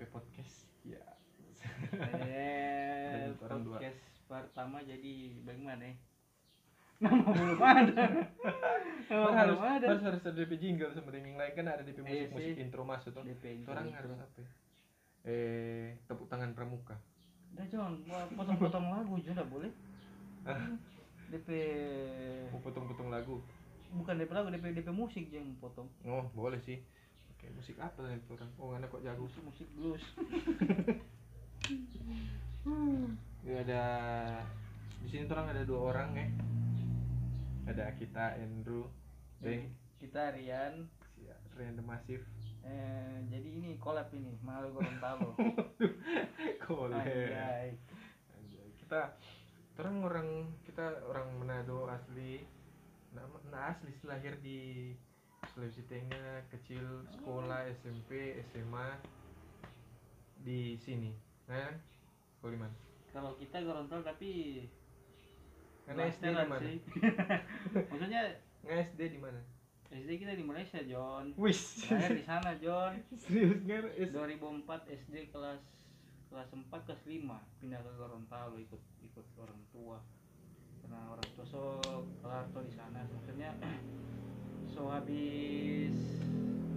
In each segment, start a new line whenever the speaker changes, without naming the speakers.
eh,
podcast
ya
eh
Lanjut, orang dua.
podcast pertama jadi bagaimana ya nama belum ada nama
Terus harus
belum Oh, ada
harus harus ada DP jingle sebenarnya yang lain kan ada DP
Iya
musik musik
sih.
intro masuk tuh
DP
itu orang harus apa ya? eh tepuk tangan pramuka
udah jangan gua potong-potong lagu juga nggak boleh
Ah.
DP
mau potong potong lagu
bukan DP lagu DP DP musik aja yang potong
oh boleh sih oke musik apa lah itu orang oh anak kok jago
musik musik blues
ya ada di sini tuh orang ada dua orang ya ada kita Andrew
Jadi,
Bang
kita Rian
si Random Masif
eh, jadi ini collab ini malu Gorontalo
Koleh
Anjay.
Anjay, kita orang orang kita orang Manado asli nah, nah asli sih, lahir di Sulawesi Tengah kecil sekolah SMP SMA di sini nah Koliman
kalau kita Gorontalo tapi
karena SD di
blasteran
mana
sih. maksudnya
Nggak SD di mana
SD kita di Malaysia John
wis
saya di sana John
serius nggak
2004 SD kelas kelas 4 kelas 5 pindah ke Gorontalo ikut ikut orang tua karena orang tua so kelarto di sana maksudnya so habis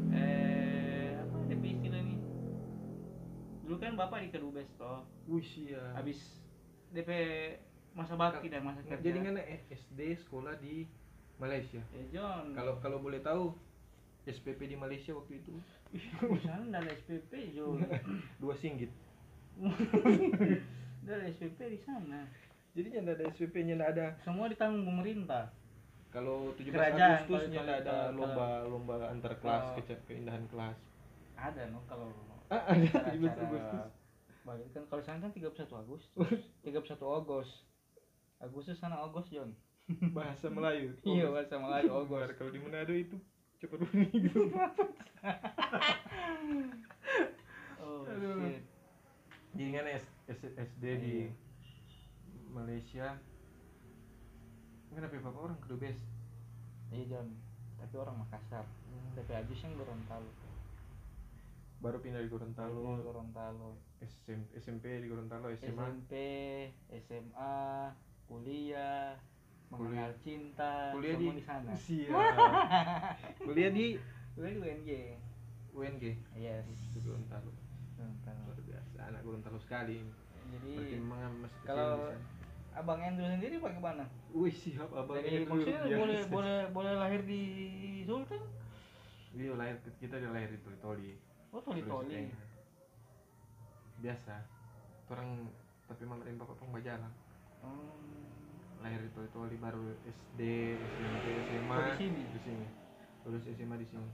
eh apa DP istilah ini dulu kan bapak di kedubes toh
wis ya
habis DP masa bakti dan masa kerja
jadi kan eh, SD sekolah di Malaysia
eh John
kalau kalau boleh tahu SPP di Malaysia waktu itu
di sana nggak ada SPP John
dua singgit
Nggak ada SPP di sana
jadinya nggak ada SPP-nya nggak ada
semua ditanggung pemerintah
kalau 17
Kerajaan, Oh.
Agustus
kalau
nya
kalau-
ada
kalau-
lomba-lomba antar kelas
kalau-
kece- keindahan kelas
ada no kalau
ah ada 17
acara
Agustus
Bagi- kan kalau sana kan 31 Agustus 31 Agustus Agustus sana Agustus John
bahasa Melayu
iya bahasa Melayu
Bar,
Agustus
kalau di Manado itu cepat bunyi gitu
oh
Aduh.
shit
jadi kan S- S- SD di
Iya.
Malaysia kenapa ya, bapak orang kedubes
iya John tapi orang Makassar tapi Agus yang Gorontalo
baru pindah di
Iya,
Gorontalo
Gorontalo
SM- SMP di Gorontalo SMA
SMP SMA kuliah mengenal cinta
kuliah di
semua di sana
Sia. kuliah di
kuliah di UNJ
UNG
yes
di Gorontalo
Gorontalo
luar biasa anak Gorontalo sekali berarti
jadi
memang masih kecil
Iya.
di
Kalau-
sana.
abang Andrew sendiri bagaimana
wih siap abang
Dari Iya, maksudnya boleh boleh boleh lahir di Sultan?
iya lahir kita udah lahir di Toli Toli
Oh toli toli.
biasa orang tapi mama dan bapak pun jalan
Hmm.
lahir di Toli Toli baru SD SMP SMA
Oh, di sini?
di sini lulus SMA di sini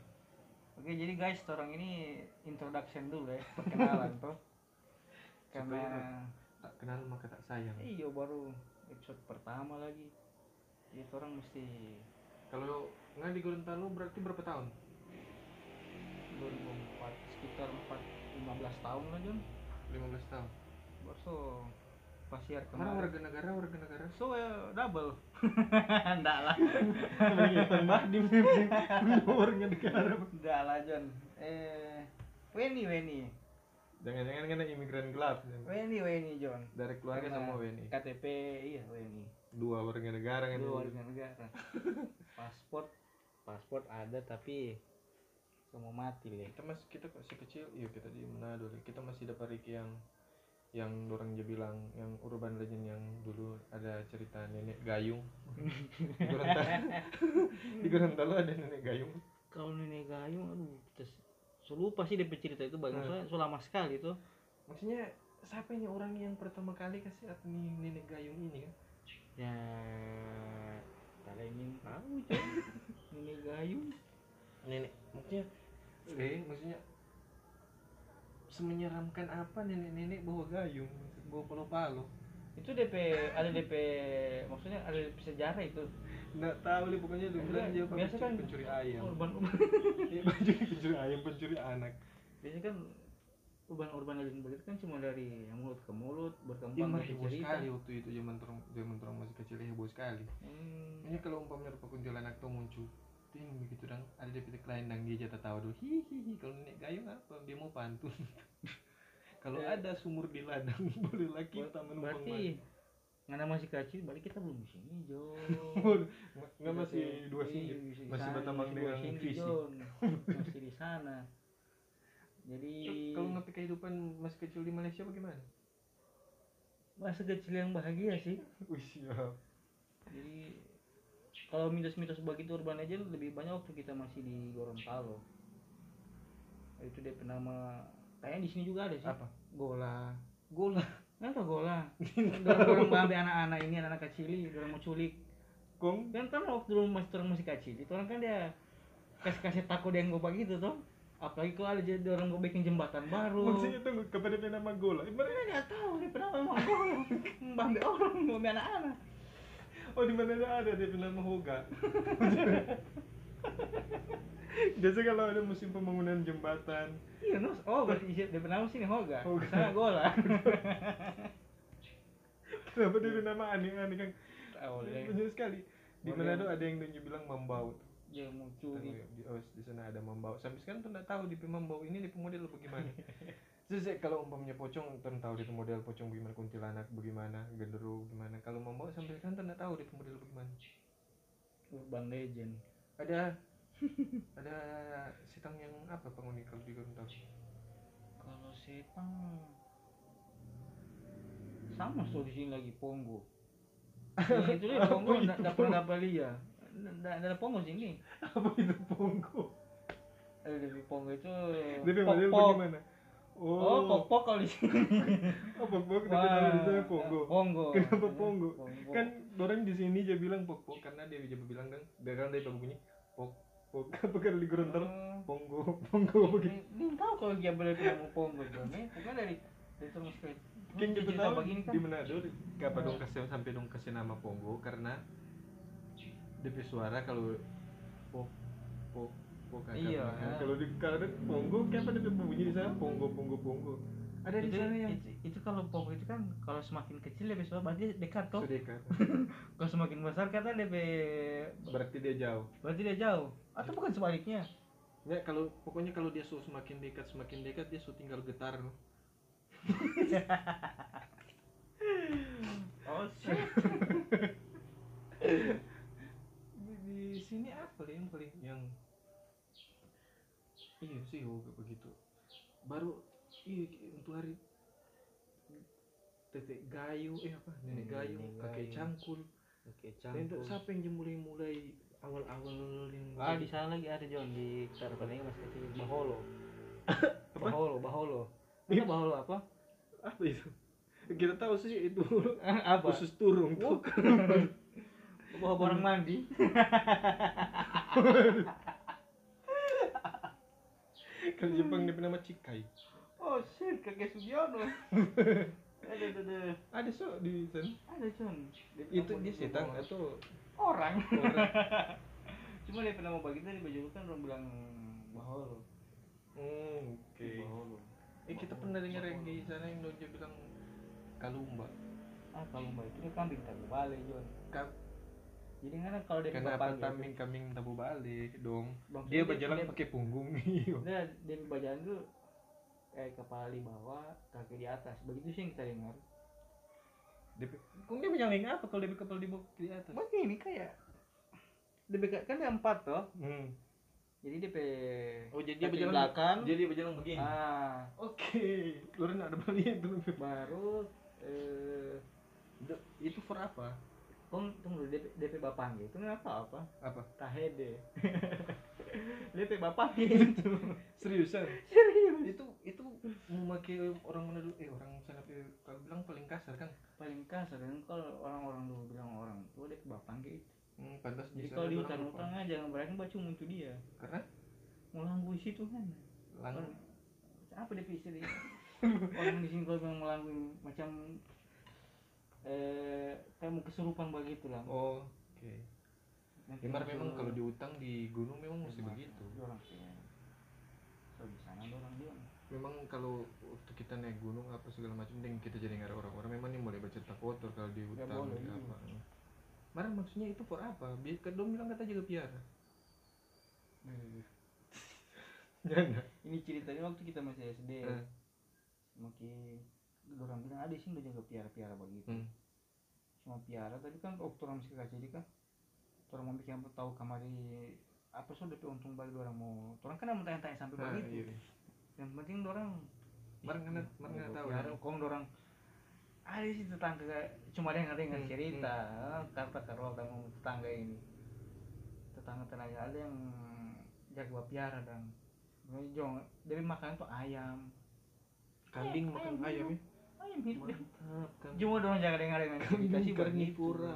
Oke jadi guys, orang ini introduction dulu ya perkenalan toh. Karena
tak kenal maka tak sayang
iyo baru episode pertama lagi. Jadi orang mesti
kalau nggak di Gorontalo berarti berapa tahun
2004 sekitar 4 15 tahun lah John.
15 tahun
Baru so pasiar
karena
kemarin.
warga negara warga negara
So eh, double. Enggak lah. Iya,
tambah di warga negara
Enggak lah John. Eh Weni Weni.
jangan-jangan kena imigran gelap
Weni Weni John.
dari keluarga
Karena
sama WNI
KTP iya WNI
dua warga negara kan
dua warga negara paspor paspor ada tapi kamu mati deh
kita masih kita masih kecil iya kita di Manado deh. kita masih dapat Riki yang yang orang dia bilang yang urban legend yang dulu ada cerita nenek gayung di Gorontalo di Gorontalo ada nenek gayung
kalau nenek gayung aduh kita selupa sih dia cerita itu bagaimana soalnya so lama sekali tuh
maksudnya siapa ini orang yang pertama kali kasih lihat nih nenek gayung ini kan
ya tak ada yang ingin tahu Jon. nenek gayung
nenek maksudnya eh maksudnya semenyeramkan apa nenek-nenek bawa gayung bawa palu-palu
itu DP ada DP maksudnya ada DP sejarah itu
nggak tahu deh pokoknya lu bilang dia
Biasa kan-
pencuri ayam
urban
Iya, pencuri pencuri ayam pencuri anak
biasanya kan urban-urban legend begitu kan cuma dari mulut ke mulut
dia
berkembang
mah
dari
heboh
Iya, cerita
Iya, sekali waktu itu zaman terong zaman terong masih kecil dia heboh sekali
Hmm.
ini kalau umpamanya rupa kuntilanak tuh muncul ting begitu dong ada di titik lain dan dia jatah tawa dulu hihihi kalau nenek gayung apa dia mau pantun Kalau
Eh.
ada sumur di ladang, bolehlah kita menumpang mandi.
berarti karena masih kecil berarti kita belum Iya, sini Jo
Nggak masih dua sini. Masih bertambang dengan visi.
masih di sana jadi
Kalau ngerti kehidupan masih kecil di Malaysia bagaimana?
masa kecil yang bahagia sih
Wih, siap.
jadi kalau mitos-mitos begitu urban aja lebih banyak waktu kita masih di Gorontalo itu dia pernah me- kayaknya di sini juga ada sih
Apa? Bola.
gola kenapa gola orang babe anak-anak ini anak-anak kecil orang mau culik
Kong.
dan kan waktu dulu masih orang masih kecil itu orang kan dia kasih kasih takut yang gobak gitu toh apalagi kalau ada jadi orang gobek yang jembatan baru
Maksudnya tunggu kepada dia nama gola. Eh, mana-
Dia nggak tahu dia pernah memang gola membabe orang membabe anak-anak
Oh di mana ada ada dia nama Hoga. Biasa kalau ada musim pembangunan jembatan,
Iya, no. Oh, berarti isi dia pernah sini hoga.
Hoga.
Sana gola.
kenapa dia nama aneh-aneh kan?
Tahu deh.
Banyak sekali. Di
Oh, iya. Boleh.
Manado ada yang dia bilang mambaut.
Dia muncul
Tahu ya, di, oh, di sana ada membau. Sampai sekarang tuh nggak tahu di membau ini di model bagaimana. Terus ya, kalau umpamanya pocong, tuh nggak tahu di model pocong bagaimana, kuntilanak bagaimana, genderuwo bagaimana. Kalau membau sampai sekarang tuh nggak tahu di model bagaimana.
urban legend.
Ada ada sitang yang apa penghuni kalau di Gorontalo?
Kalau setan sama so di sini lagi Pongo. Ini itu dia Pongo
Apa
nggak
itu?
nggak pernah dapat lihat. Nggak ada Pongo sini.
Apa itu pongko?
Eh, Lebih Pongo itu
Dari model
pok-pok.
bagaimana?
Oh,
Oh,
pok-pok kalau di sini.
apa pok? Kenapa
Wah,
nama di sana pongko?
Pongo.
Kenapa
Iya,
Pongo? Kan orang di sini dia bilang pok pok karena dia dia bilang kan, dia kan dia bunyi pok pok. Apa kalau di Gorontalo?
Oh.
Ponggo, ponggo gitu." begitu.
Belum tahu kalau dia boleh ketemu Pongo Jome. Bukan dari dari terus ke.
Kan Iya. kita
cerita
tahu
begini kan.
di Manado kenapa dong kasih sampai dong kasih nama Ponggo karena dia punya suara kalau pok pok pok agak
Iya.
belakang. kan. Nah, Kalau di kalau di Ponggo kenapa dia bunyi di sana Ponggo Ponggo Ponggo. Ada di
Itu,
sana ya. yang
itu, itu kalau Pongo itu kan kalau semakin kecil lebih besar berarti dekat toh.
Sedeka.
Kalau semakin besar kata lebih
Berarti dia jauh.
berarti dia jauh. Atau bukan sebaliknya?
Ya kalau pokoknya kalau dia suruh semakin dekat semakin dekat dia suruh tinggal getar.
Oh, shit.
Di, di sini apa yang paling yang iya sih oh, kayak begitu. Baru iya untuk hari tetek gayu eh apa nenek
Hmm,
gayu
nenek
kakek
gayu.
cangkul
Oke,
untuk siapa yang mulai mulai awal awal yang
Ah, di sana lagi ada John di Tarpannya masih kecil Baholo. Baholo, Baholo. Itu Baholo apa?
apa itu kita tahu sih itu
apa?
khusus turun tuh
Bawa barang mandi.
kalau Jepang dia nama cikai
Oh shit, kakek Sugiono. ada ada ada
ada so di sana
ada John. Dia
itu
pernah
dia
mau-
setan
mau-
atau
orang.
orang
Cuma dia pernah mau bagi tadi baju kan orang bilang bahol.
Hmm, oke
Bahol.
eh kita pernah dengar yang di sana yang dia bilang kalumba
Ah kalau mbak itu dia kambing tapi balik John.
Ka-
Jadi kan kalau dia
karena
dipanggil,
apa kambing kambing tabu balik dong
maksudnya
dia berjalan
dia-
pakai punggung iya
Dia dia berjalan dulu eh kepala di bawah, kaki di atas. Begitu sih yang kita dengar.
dia kok dia berjalan apa kalau dia kepala di bawah di atas
Begini kayak lebih kayak- kan ada empat toh.
hmm.
Jadi dia pe
oh jadi dia
kaki
berjalan
belakang.
jadi dia berjalan begini
Ah,
oke lu ada beli itu
baru eh
itu for apa
Kong, tunggu dulu, DP, DP Bapangge itu kenapa apa?
apa
Tahede. DP Bapangge
Gitu.
itu.
seriusan
Serius.
itu itu memakai orang Manado eh orang sana eh, kalau bilang paling kasar kan
Paling kasar kan kalau orang-orang dulu bilang orang tua DP Bapangge itu.
hmm, pantas
Jadi
sana
kalau di
orang
hutan-hutan
apa?
aja jangan berani baca muncul dia.
karena
Mau langgu isi Tuhan.
lang
Orang- kan? Apa DP istri? orang di sini kalau bilang melanggu macam eh kamu kesurupan begitu lah.
oh oke
Nanti
Emang memang
muncul-
kalau di hutang di gunung memang mesti begitu.
Dia Orang sih. ya. Kalau di sana dia orang dia.
Memang kalau waktu kita naik gunung apa segala macam ding kita jadi ngarep orang-orang memang nih mulai bercerita kotor kalau di
Nggak
hutang
boleh,
di
iya.
apa. Marah maksudnya itu for apa? Biar kedom bilang kata jaga piara.
Hmm.
Jangan. Nah,
Iya, ini ceritanya waktu kita masih SD
Eh.
makin orang bilang ada sih udah jaga piara-piara begitu
Hmm.
cuma piara tapi kan waktu orang masih kecil jadi kan orang mau bikin apa tahu kamari apa sih udah untung bagi orang mau orang kan mau tanya-tanya sampai
Nah,
begitu Eh,
iya.
yang penting orang
Mereka kena mereka kena tahu.
ya kong "Ah, orang ada sih tetangga kayak- cuma dia ngerti nggak eh,
Hmm,
cerita kata karol tamu tetangga ini tetangga tenaga ada yang jaga piara dan jong dari makanan tuh ayam
Kambing makan
ayam Iya.
ayam ya.
ayam hidup dia.
Mantap kan.
cuma dong jaga kan. dengar dengan
Kambing
begitu.
karnivora.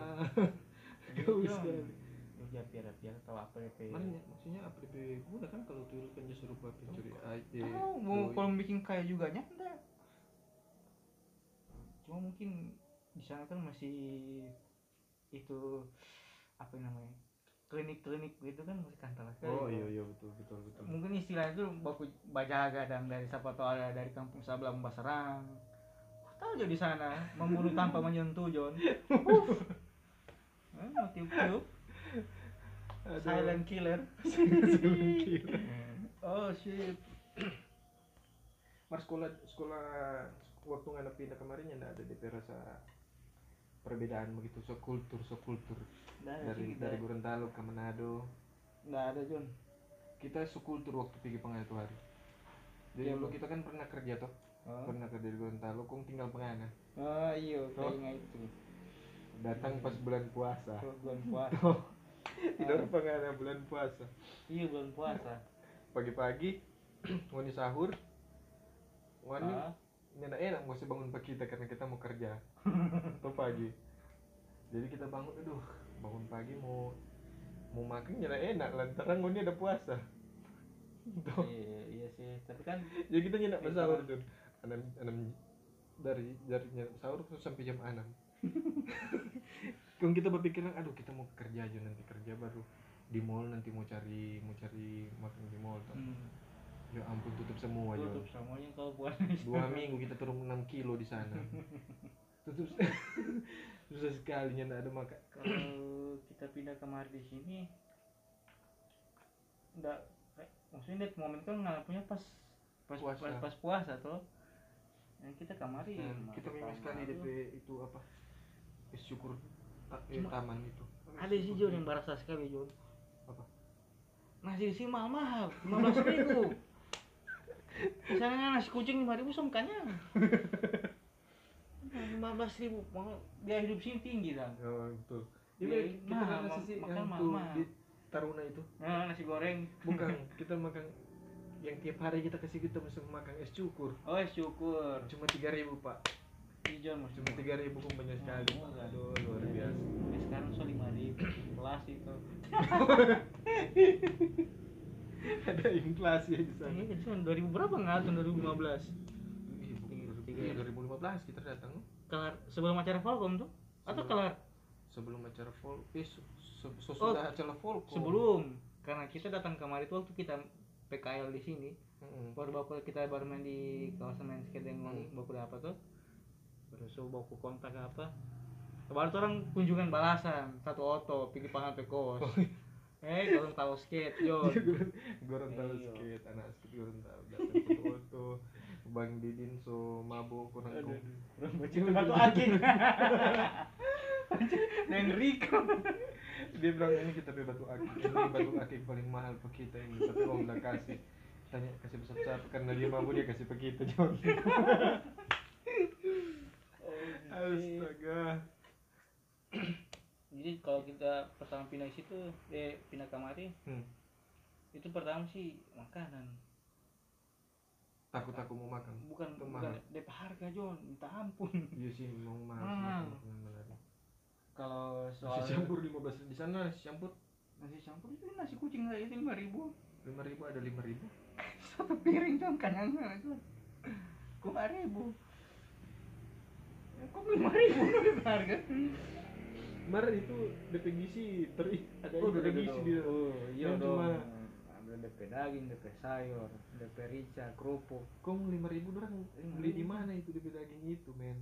Jauh sekali.
Jogja piara-piara tahu apa ya Pe.
Makanya maksudnya apa lebih guna kan kalau tuyul kan justru buat pencuri
Oh.
aja.
Tahu mau
Iya, Doi.
kalau bikin kayak juga nyanda. Cuma mungkin di sana kan masih itu apa namanya? klinik-klinik gitu kan masih kantor
Oh iya iya betul betul betul.
mungkin istilahnya itu baku bajaga dan dari siapa tahu ada dari kampung sebelah Mbak Serang Kau tahu jadi sana membunuh tanpa menyentuh John Uff. Eh, mau tiup-tiup
Aduh. Hmm.
silent killer
Silent killer.
oh shit
Mar sekolah sekolah waktu anak pindah kemarin ya nggak ada DP rasa perbedaan begitu sekultur sekultur
Nggak ada Iya, sih
dari
kita.
dari Gorontalo ke Manado
Nah, nggak ada John
kita sekultur waktu pergi pengen itu hari jadi
Iya,
dulu
Bang.
kita kan pernah kerja toh
oh,
pernah kerja di Gorontalo kong tinggal pengana
oh
Oh.
iya kayaknya itu
datang pas bulan puasa
Kalau bulan puasa
tidur pengana bulan puasa
iya bulan puasa
pagi-pagi wani sahur wani
Ah,
ini enak enak mesti bangun pagi kita karena kita mau kerja atau pagi jadi kita bangun aduh bangun pagi mau mau makan enak enak lantaran ini ada puasa Tuh.
iya iya sih tapi kan
jadi kita nyenak
Iya,
bersahur
kan.
tuh enam enam dari dari nyenak sahur tuh sampai jam enam Kung kita berpikiran aduh kita mau kerja aja nanti kerja baru di mall nanti mau cari mau cari makan di mall tuh.
hmm,
ya ampun tutup semua ya
tutup semuanya kalau puasa
dua minggu kita turun 6 kilo di sana Terus susah sekali nggak ada makan
kalau kita pindah kamar di sini enggak maksudnya net momen kan ngalapunya pas pas
Puasa.
pas, pas puasa tuh yang Hmm, kita kan kamari
Dan
emang
Nah, kita
ada
memang sekali
kamar.
DP itu apa es syukur ta- eh,
Cuma-
taman itu
ada sih Jun yang berasa sekali Jun
Apa?
nasi isi mahal mahal lima belas ribu misalnya nasi kucing lima ribu semkanya lima belas ribu mau biaya hidup sini tinggi kan
oh, betul
Ya,
ini kita
mahal,
makan
ma-
sih
makan
yang
mahal,
tuh
mahal.
di Taruna itu
nah, nasi goreng
bukan kita makan yang tiap hari kita kasih kita mesti makan es cukur
oh syukur
cuma tiga ribu pak
Ih, Jun maksudnya
cuma tiga ribu banyak sekali pak
Mahal.
aduh luar biasa
Ya, sekarang so lima ribu kelas itu
ada inflasi ya di sana
jadi tahun 2000 berapa nggak tahun 2015
Ih, bu-
Iya, Tiga-
Iya, dua-
tiga-
2015 kita datang
kelar sebelum acara Falcom tuh atau
Sebelum.
kelar
sebelum acara vol eh se- se-
Oh,
sesudah acara vol
sebelum karena kita datang kemarin tuh waktu kita PKL di sini
Mm-mm.
baru baku kita baru main di kawasan main skate yang ini baku apa tuh baru so baku kontak apa baru tuh orang kunjungan balasan satu oto pergi pangan ke kos eh kalau tahu skate John
Gorontalo
Iya.
skate anak skate Gorontalo datang ke foto Bang Didin so mabuk kurang
Aduh,
kok
orang bocil batu aki dan Rico
dia bilang ini kita beli batu akik ini batu akik paling mahal ke kita ini tapi om udah kasih tanya kasih besar besar karena dia mabuk dia kasih ke kita John
iya.
astaga
jadi kalau kita pertama pindah ke situ eh pindah kamari
Hmm.
itu pertama sih makanan
takut aku mau makan
bukan
Itu
bukan
mahal.
DP harga John minta ampun
iya sih mau
Mahal.
mahal
kalau soal
nasi campur 15 di sana nasi campur
nasi campur itu nasi kucing saya itu lima ribu
5000 ada 5000
satu piring John kanyangnya John kok lima ribu Ya, kok lima ribu harga
Mar itu DP gizi teri ada oh,
Oh,
DP gizi dia.
Oh, iya
Yang
dong.
cuma-
Ada DP daging, DP sayur, DP rica, kerupuk.
Kong lima ribu orang
Lima
beli di
ribu.
mana itu DP daging itu men?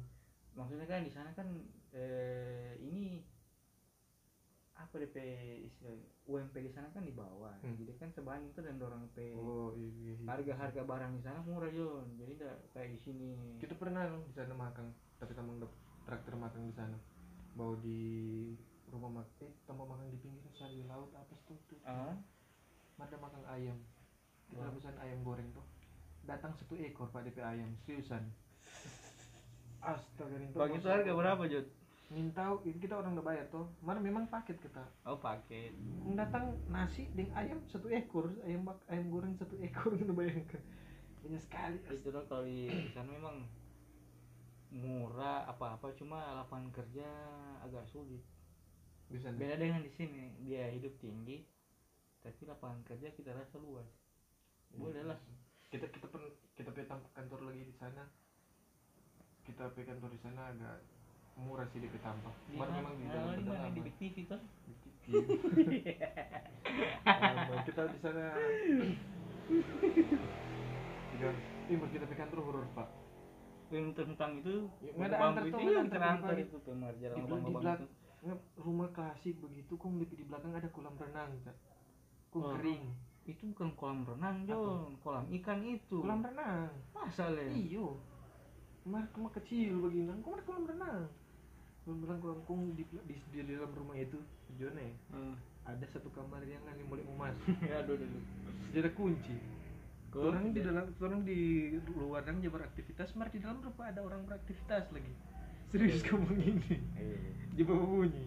Maksudnya kan di sana kan eh, ini apa apa DP istilahnya UMP di sana kan di bawah
Hmm.
jadi kan sebanding tuh dengan orang P
oh iya, iya, iya.
harga-harga barang di sana murah Jon jadi nggak kayak di sini
kita pernah loh di sana makan tapi tamu dap- traktir makan di sana bawa di rumah makan eh tempat makan di pinggir sayur laut apa sih tuh
ah
ada makan ayam kita
Wah.
pesan ayam goreng tuh datang satu ekor pak DP ayam seriusan astaga ini tuh
bagi itu
masuk-
gitu harga berapa Jon
minta ini kita orang udah bayar tuh mana memang paket kita
oh paket
datang nasi dengan ayam satu ekor ayam bak ayam goreng satu ekor gitu bayangkan banyak sekali
itu dong kalau di di sana memang murah apa-apa cuma lapangan kerja agak sulit
bisa
beda dengan di sini dia hidup tinggi tapi lapangan kerja kita rasa luas boleh lah.
kita kita pun kita pe tam- kantor lagi di sana kita pe kantor di sana agak murah sih DP tampak
di
Kemarin
mana
memang di
Nah,
dalam
di mana?
pedalaman.
di Big TV kan
Di TV. Lama. kita di sana tiga ih mas kita pe kantor horor pak
yang tentang itu
Ya, nggak ada
bambu
antar
itu
tuh, nggak ada antar
iya kita antar
di
itu pemarja
Di
lambang
belakang- di
lambang itu
Nge- rumah klasik begitu kok di, di belakang ada kolam renang Cak. Kok
Oh.
kering
itu bukan kolam renang Jon kolam ikan itu
kolam Iya. renang
masa le
iyo kemarin kemar kecil begini kemarin kolam renang kolam renang kolam kong di, di, di dalam rumah itu Jone
Hmm.
ada satu kamar yang lagi mulai emas
Ya, aduh aduh
jadi ada kunci
Oh,
orang di
aduh
dalam orang di luar dan dia beraktivitas mar di dalam rupa ada orang beraktivitas lagi serius
Iya.
kamu ini
Eh,
dia bawa bunyi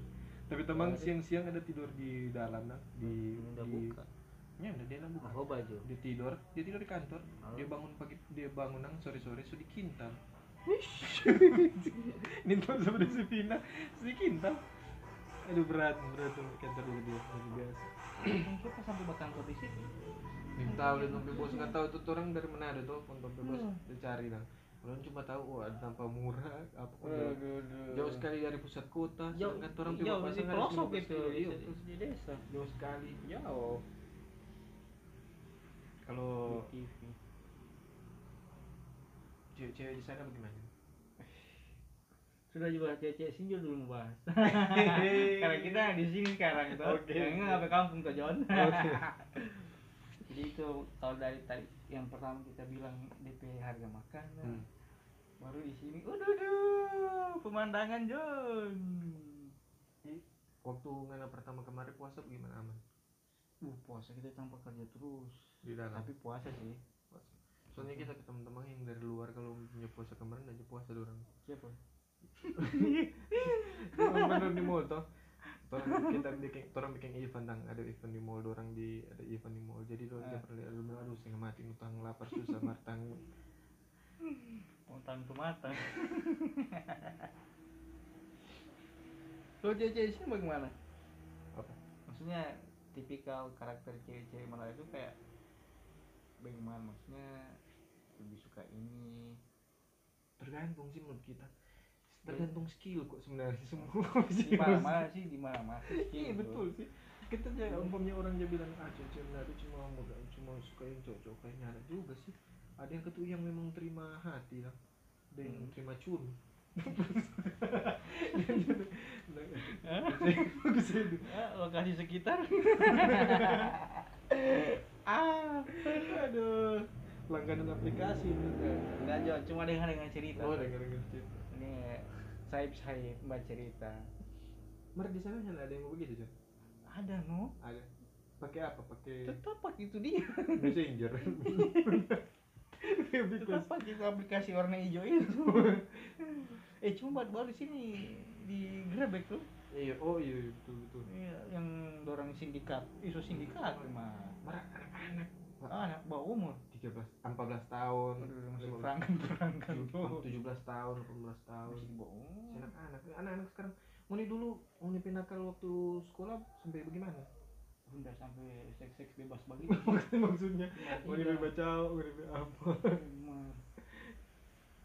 tapi teman
Waduh.
siang-siang ada tidur di dalam nah di
Iya. udah
di-
buka
ya udah dia dalam buka
oh baju
dia tidur dia tidur di kantor
Halo.
dia bangun pagi dia bangun nang sore sore sudah kintal nintal sudah sepindah sudah kintal aduh berat berat tuh kantor dulu dia luar biasa
kita sampai bakal ke di situ
minta udah sampai bos nggak tahu tuh orang dari mana ada tuh untuk bos
Hmm.
dia cari nang orang cuma tahu oh ada tanpa murah apa jauh, jauh sekali dari pusat kota
jauh
sedangkan orang
orang
pergi
jauh
pasang
di
harus
pelosok
15
gitu
kilo.
di
Iya,
di- di desa
jauh sekali
jauh
kalau
TV
cewek-cewek di sana bagaimana
sudah juga cece sinjol dulu membahas
Hehehe.
karena kita di sini sekarang itu
Oke.
kayaknya nggak sampai kampung ke John
Oke.
jadi itu kalau dari tadi yang pertama kita bilang DP harga makanan
Hmm.
baru di sini udah duh pemandangan John
waktu ngana pertama kemarin puasa gimana aman
uh puasa kita tanpa kerja terus
di dalam
tapi puasa sih
soalnya kita ke teman-teman yang dari luar kalau punya puasa kemarin aja puasa dorang
siapa
dorang bener di mall toh Torang kita bikin torang bikin event dang ada event di mall dorang di ada event di mall jadi dorang dia
Ah.
perlu aduh bilang, aduh saya mati utang lapar susah martang
Pontang ke mata. Lo sini bagaimana?
apa
Maksudnya tipikal karakter cewek-cewek Melayu itu kayak bagaimana? Maksudnya lebih suka ini.
tergantung sih menurut kita tergantung skill kok sebenarnya semua
Di mana-mana sih, gitu. di mana-mana.
iya betul sih kita aja umpamanya orang dia bilang ah cewek menarik cuma muda cuma suka yang cocok kayaknya ada juga sih ada yang ketua yang memang terima hati lah ada yang
Hmm.
terima cun bagus itu
Ya, lokasi sekitar. ah,
aduh langganan aplikasi ini kan
enggak Jon, cuma dengan dengan cerita.
oh dengar ngerti
Ini saya saya mbak cerita.
mer di sana ada yang begitu Jon?
Ada no,
ada pakai apa pakai
tetap pakai itu dia.
messenger
Tetap pakai aplikasi warna hijau itu. eh cuma buat baru di sini di Grebek tuh.
iya oh iya iya, betul betul
Iya, yang dorong sindikat, isu sindikat mah.
merah anak-anak
Anak bawah umur.
13 14 tahun
Aduh, masih
15
perangkan perangkan tuh.
17 tahun, 18 tahun.
Masih bawah umur.
Anak-anak, anak-anak sekarang. Muni dulu, Muni pinakal waktu sekolah sampai bagaimana?
Udah sampai seks seks bebas bagi.
Maksudnya, Muni
Iya.
baca, Muni apa?
Umur.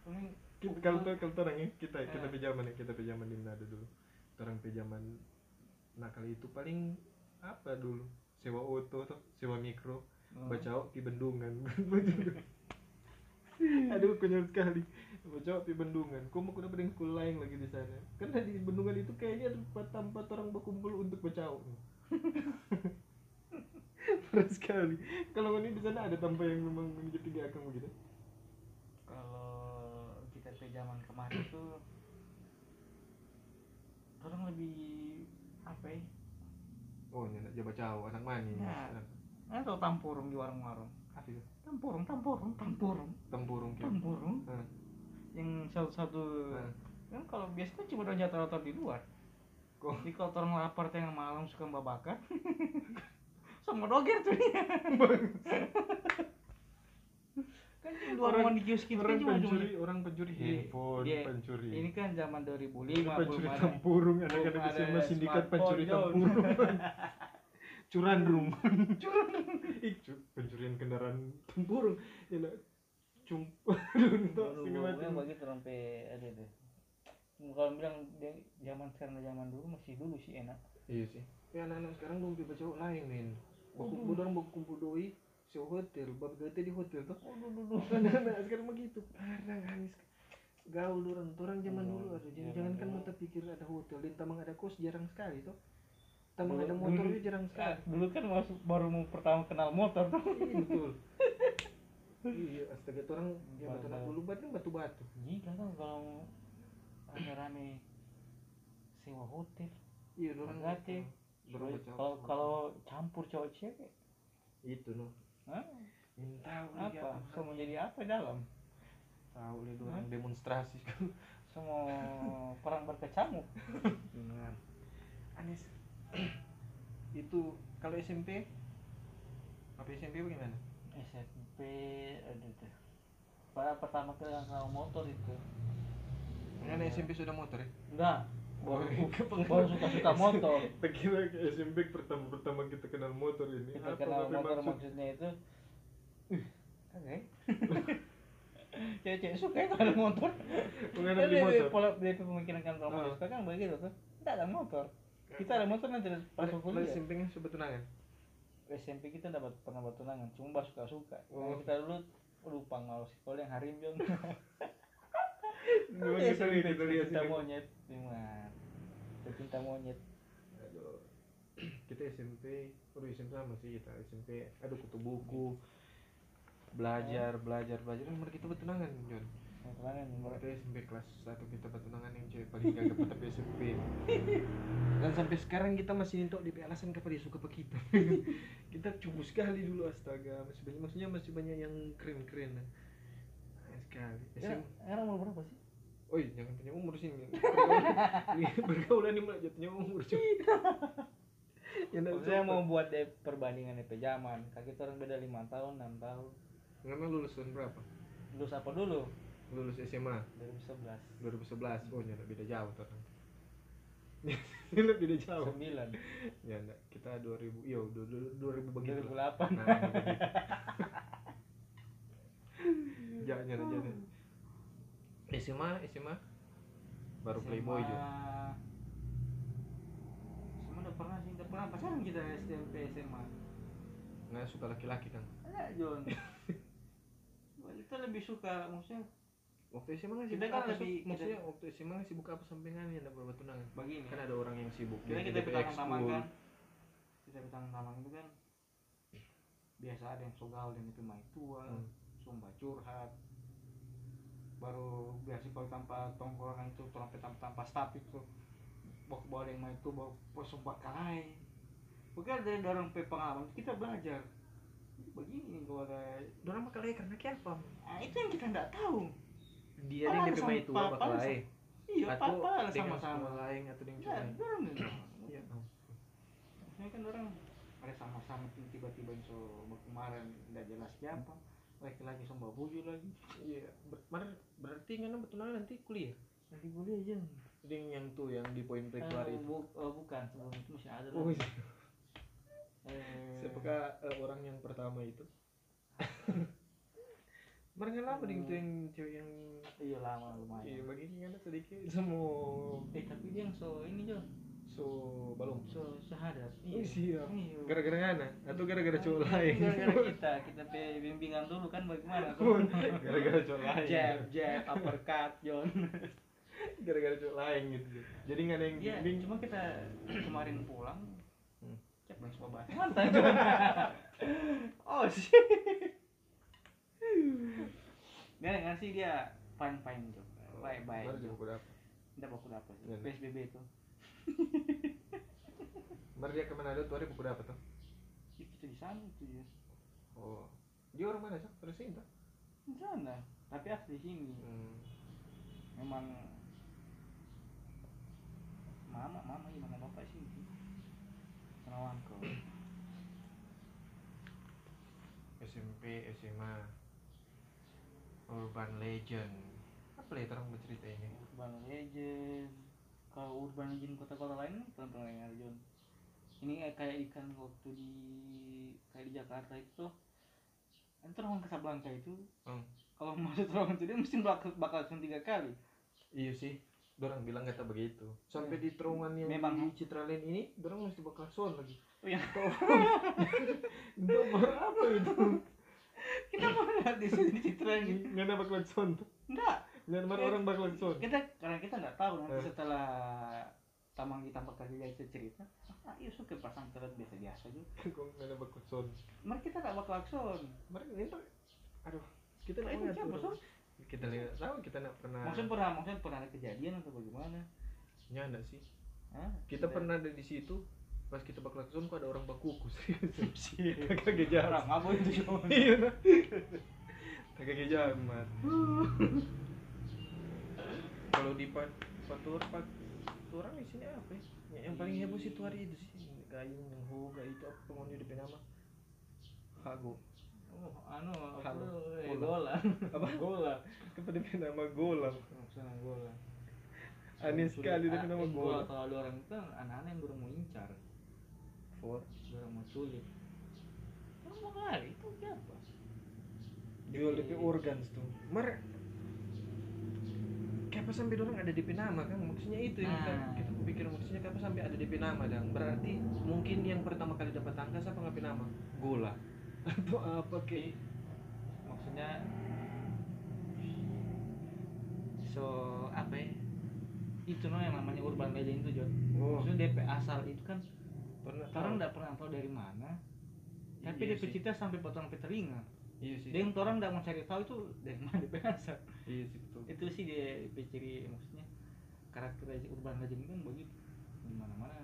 Paling
Kita- Kalau tuh kalau orang ya, kita kita
Eh.
pinjaman ya, kita pinjaman di Manado dulu. Orang pinjaman nakal itu paling apa dulu? Sewa auto tuh, sewa mikro,
Hmm.
baca di bendungan. Aduh, konyol sekali. Baca kan. di bendungan. Kok mau kuda bedeng sekolah lain lagi di sana? Karena di bendungan itu kayaknya ada tempat tempat orang berkumpul untuk jauh Parah sekali. Kalau ini di sana ada tambah yang memang menuju tiga agama gitu.
kalau kita ke zaman kemarin tuh orang lebih apa ya
Oh, nyenak jabat jauh, anak manis.
Nah.
Anak
atau tampurung di warung-warung
apa itu?
tampurung tampurung tampurung
Tempurung
Iya.
gitu.
tampurung
Nah,
yang satu-satu
nah.
kan kalau biasanya cuma udah jatuh-jatuh di luar
Kok
jadi kalau orang lapar tengah malam suka babakan sama doger tuh dia kan dua
Orang-
orang di kios kita
orang
kan cuma cuma
pencuri, orang pencuri
Iya,
handphone,
iya.
pencuri.
ini kan zaman 2005
pencuri
belum ada
tempurung, anak-anak
belum ada
SMA sindikat
smartphone,
pencuri
John.
tempurung. Curandrum. Ih, cu- pencurian kendaraan Ya, tempurung. Nyenak cumpa.
Baru yang begitu sampai ada deh kalau bilang dia zaman sekarang dan zaman dulu masih dulu sih enak
Iya sih. Ya anak-anak sekarang belum tiba cowok lain men. Waktu
Waduh.
orang mau kumpul doi si hotel, bab gete di hotel tuh.
waduh dulu
Anak-anak sekarang begitu. Parah anis. Gaul orang, orang zaman
Iya,
dulu aduh jangan
zaman
jangan kan
dulu.
mata pikir ada hotel dan tamang ada kos jarang sekali tuh. Tamang
Dulu-
ada motor
dulu-
juga jarang
Ah,
sekali.
dulu kan masuk baru mau pertama kenal motor tuh
Iya betul. Iya, astaga tuh orang ya batu anak
Batu.
bulu batu batu-batu.
gila kan kalau rame-rame sewa hotel
Iya, orang
Berarti
Dorang
Kalau-
bacau.
Iya, kalau kalau campur cowok cewek
itu no.
Hah?
Minta
apa semua jadi apa dalam
Tahu lihat orang demonstrasi
semua perang berkecamuk
Benar. Anis. itu kalau SMP apa SMP bagaimana?
SMP ada tuh pada pertama kali kenal motor itu
Kan
Iya.
SMP sudah motor ya?
enggak baru, baru suka suka motor
Kira SMP pertama pertama kita kenal motor ini.
kita kenal motor maksudnya itu oke cewek-cewek suka itu ada motor
Mengenai beli
Tapi
motor.
pola dari pemikiran kan kalau
Ah.
suka kan begitu tuh kita ada motor kita ada motor ya? nanti pas
Kalau kalau
kuliah
SMP kan sudah tunangan.
SMP kita dapat pernah buat tunangan cuma suka suka
Oh.
Nah, kita dulu lupa mau sekolah yang harim jong
Memang
Ya,
kita lihat kita lihat
cinta
sini.
monyet gimana cinta monyet
Aduh. Kita SMP, aduh SMP sama sih kita SMP. Aduh kutu buku. Belajar, belajar, belajar. Kan kita bertunangan, John.
yang tunangan ber-
Waktu SMP kelas 1 kita bertunangan yang cewek paling gagap tapi SMP Dan sampai sekarang kita masih nintok di alasan kenapa dia suka sama kita Kita cukup sekali dulu astaga masih banyak, Maksudnya masih banyak yang keren-keren lah. Keren sekali
Ya,
SM
sekarang umur berapa sih
Oi Oh iya, jangan tanya umur sih Min. Pergaulan- Ini Pergaulan ini malah jatuhnya umur cuy Ya enggak
saya mau buat deh perbandingan DP zaman kaki orang beda lima tahun enam tahun
Karena lulus tahun berapa?
lulus apa dulu
Lulus SMA
2011
2011 Oh nyala beda jauh tuh orang. Nyala beda jauh
9
ya enggak kita 2000 iya du- du- 2000 begitu lah. nah
2008
begitu. jangan jangan jangan SMA SMA baru playboy juga
Semua udah pernah sih, udah pernah pacaran kita SMP SMA.
nggak suka laki-laki kan
Ada Jon. Wah, kita lebih suka maksudnya
waktu SMA nggak
Kita
sibuk
kan
apa
lebih-
sih maksudnya waktu SMA nggak sibuk apa sampai nggak ada berbuat tunangan
begini.
kan ada orang yang sibuk
Kita
dia
kita
jadi
petang
ekskul.
tamang kan. Kita petang tamang itu kan biasa ada yang sogal dan itu main tua,
Hmm.
sumba curhat. Baru biasa kalau tanpa tongkrongan itu tanpa tanpa staff itu bawa bawa yang main tua bawa bawa sumba kalai. Bukan dari orang pe pengalaman kita belajar begini kalau ada
orang bakal lain karena kenapa
Ah, itu yang kita nggak tahu.
dia
Padahal
yang lebih main
sama-
tua bakal
padahal
lain
Iya,
atau
apa-apa
dengan
sama-sama.
sekolah lain atau dengan
Ya,
cowok lain
dorang nggak tahu.
Iya, ampun.
Maksudnya kan orang ada sama-sama tuh tiba-tiba so kemarin nggak jelas siapa laki-laki sama buju lagi
Iya, ber- mar- berarti kan betulan nanti kuliah.
nanti boleh aja
Jadi yang- yang tuh yang di poin
Eh,
preklar itu.
bu- eh, bukan sebelum itu masih ada
Oh,
lagi.
iya.
Eh,
siapakah eh, orang yang pertama itu? Mereka lama ding tuh yang cewek yang
Hmm. iya lama
iya
lumayan
bagi kan sedikit semua
eh tapi dia yang so ini jo
so balong.
so syahadat
Oh, siap.
Iya.
Gara-gara ngana atau gara-gara cowok
Iya,
lain?
gara-gara kita kita pe- bimbingan dulu kan bagaimana
iya. gara-gara cowok lain.
jab jab uppercut John
gara-gara cowok lain gitu jadi nggak ada yang
Iya,
bimbing
cuma kita kemarin pulang
Hmm.
cek bang sebuah bahasa mantan cuma
oh shit
dia ngasih dia fine fine job baik baik
Oh, baru
job
jemput apa
udah buku dapat
Iya.
psbb itu
baru dia ke Manado tuh hari buku apa tuh
itu di sana itu ya
oh dia orang mana sih terus itu
di sana tapi asli sini
hmm.
memang mama mama gimana bapak sih kenalan kau
SMP SMA Urban Legend apa ya terang bercerita ini
urban legend kalau urban legend kota-kota lain pernah pernah dengar John ini kayak- kayak ikan waktu di kayak di Jakarta itu tuh kan terowongan Casablanca itu
Hmm.
kalau masuk terowongan itu dia mesti bakal bakal turun tiga kali
iya sih dorang bilang kata begitu sampai di terowongan yang
Iya. Memang. eh?
di Citraland ini dorang mesti bakal son lagi
Oh iya.
Tau- Untuk apa itu
kita mau lihat di sini di Citra ini
nggak ada bakalan son tuh
enggak
nggak ada
Iya.
orang bakalan son
kita karena kita nggak tahu nanti
Eh.
setelah tamang ditambah kali dia cerita ah iya suka pasang terus biasa biasa juga
nggak ada bakalan son
mereka kita nggak bakal klakson
mereka ini tuh- aduh kita
Lah,
nggak
itu
ingat
siapa,
orang.
Son?
kita lihat tahu kita nggak pernah
maksudnya pernah maksudnya pernah ada kejadian atau bagaimana
nya nggak sih
Hah?
kita
Sudah.
pernah ada di situ pas kita bakal zone kok ada orang bakuku serius kagak jahat
Iya. orang mabuk itu cuma
iya nah. kagak jahat kalau di pat patur pat orang di sini apa ya? Ya, yang paling heboh sih itu hari itu sih gayung yang hoga itu apa pengunjung di penama hago
Oh, anu apa
Halo.
tuh, eh,
Bola.
bola
Apa?
bola
kepada penama golam
senang bola
aneh sekali
Sulit.
tapi nama
Ah,
golam
kalau ada orang itu anak-anak yang kurang mau incar
for
kurang mau sulit orang mau lari itu siapa
jual DP organs tuh mer kenapa sampai orang ada DP nama kan maksudnya itu yang kita,
Nah.
kita pikir maksudnya kenapa sampai ada DP nama dan berarti mungkin yang pertama kali dapat angka siapa ngapain nama gola atau apa kayak
maksudnya so apa ya itu no yang namanya urban legend itu John
oh
maksudnya DP asal itu kan
pernah
orang nggak pernah tahu dari mana tapi
Iya
DP
sih.
cerita sampai potong sampai telinga
iya sih
dia yang orang nggak mau cari tahu itu dari mana DP asal
iya sih betul
itu sih dia dia ciri maksudnya karakteristik urban legend itu kan begitu di mana mana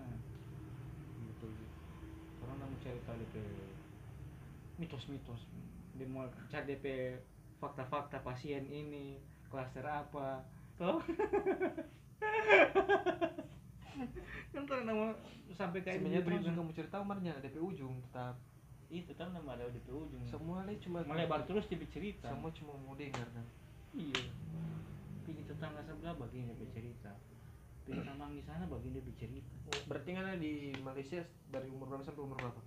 betul sih.
orang nggak mau cari tahu DP mitos-mitos dia mau cari DP fakta-fakta pasien ini klaster apa tuh kan orang nggak mau sampai kayak
sebenarnya
gitu,
terus
kan.
kamu cerita Umarnya DP ujung tetap
itu kan nggak ada DP ujung
semua le cuma
melebar terus DP cerita
semua cuma mau dengar kan
iya pinggir tetangga sebelah bagian DP cerita pinggir tambang di sana bagian DP cerita
berarti kan di Malaysia dari umur berapa sampai umur berapa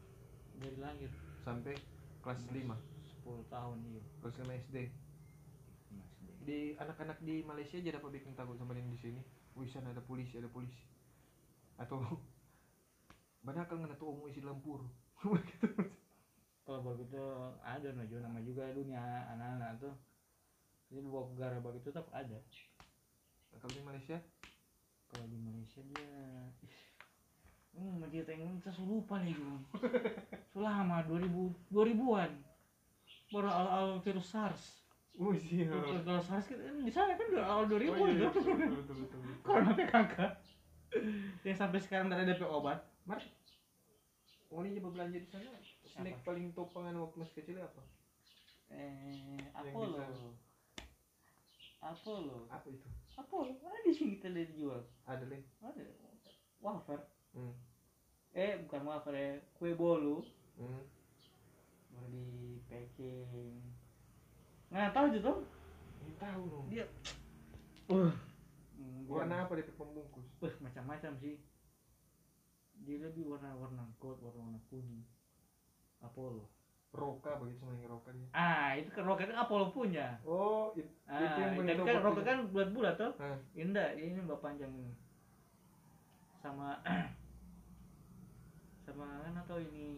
dari lahir
sampai kelas 5
10 tahun iya
kelas 5 SD
Mas Dek.
di anak-anak di Malaysia aja dapat bikin takut sama yang di sini wisan ada polisi ada polisi atau banyak kan kena tuh isi lampur Nah,
kalau begitu ada no Jo, nama juga dunia anak-anak tuh jadi bawa ke gara begitu tetap ada
kalau di Malaysia
kalau di Malaysia dia hmm dia tengok kita sudah lupa nih Jo. sudah lama 2000 2000-an baru awal awal virus SARS
wisi
virus virus SARS kita di sana kan udah awal 2000
Mar
Jo. Corona PKK yang sampai sekarang tidak ada DP obat
Oli coba Oh, belanja di sana snack paling topangan waktu masih kecil ya apa
eh
Yang
Apollo
bisa-
Apollo
apa itu
Apollo ada di sini kita lihat dijual
ada leh
ada wafer
hmm.
eh bukan wafer ya kue bolu
hmm.
baru di packing nggak Nah, tahu aja tuh
Ini tahu loh
dia
warna apa DP pembungkus
Wah, Hmm, macam-macam sih dia lebih warna-warna gold warna-warna kuning Apollo
roka begitu sama yang roka dia
ah itu kan roket Apollo punya
oh it- nah,
Ah,
yang
tapi
paling
kan
topan.
rokok kan bulat-bulat tuh.
Hah.
Ini enggak, ini enggak panjang ini. Sama sama kan atau ini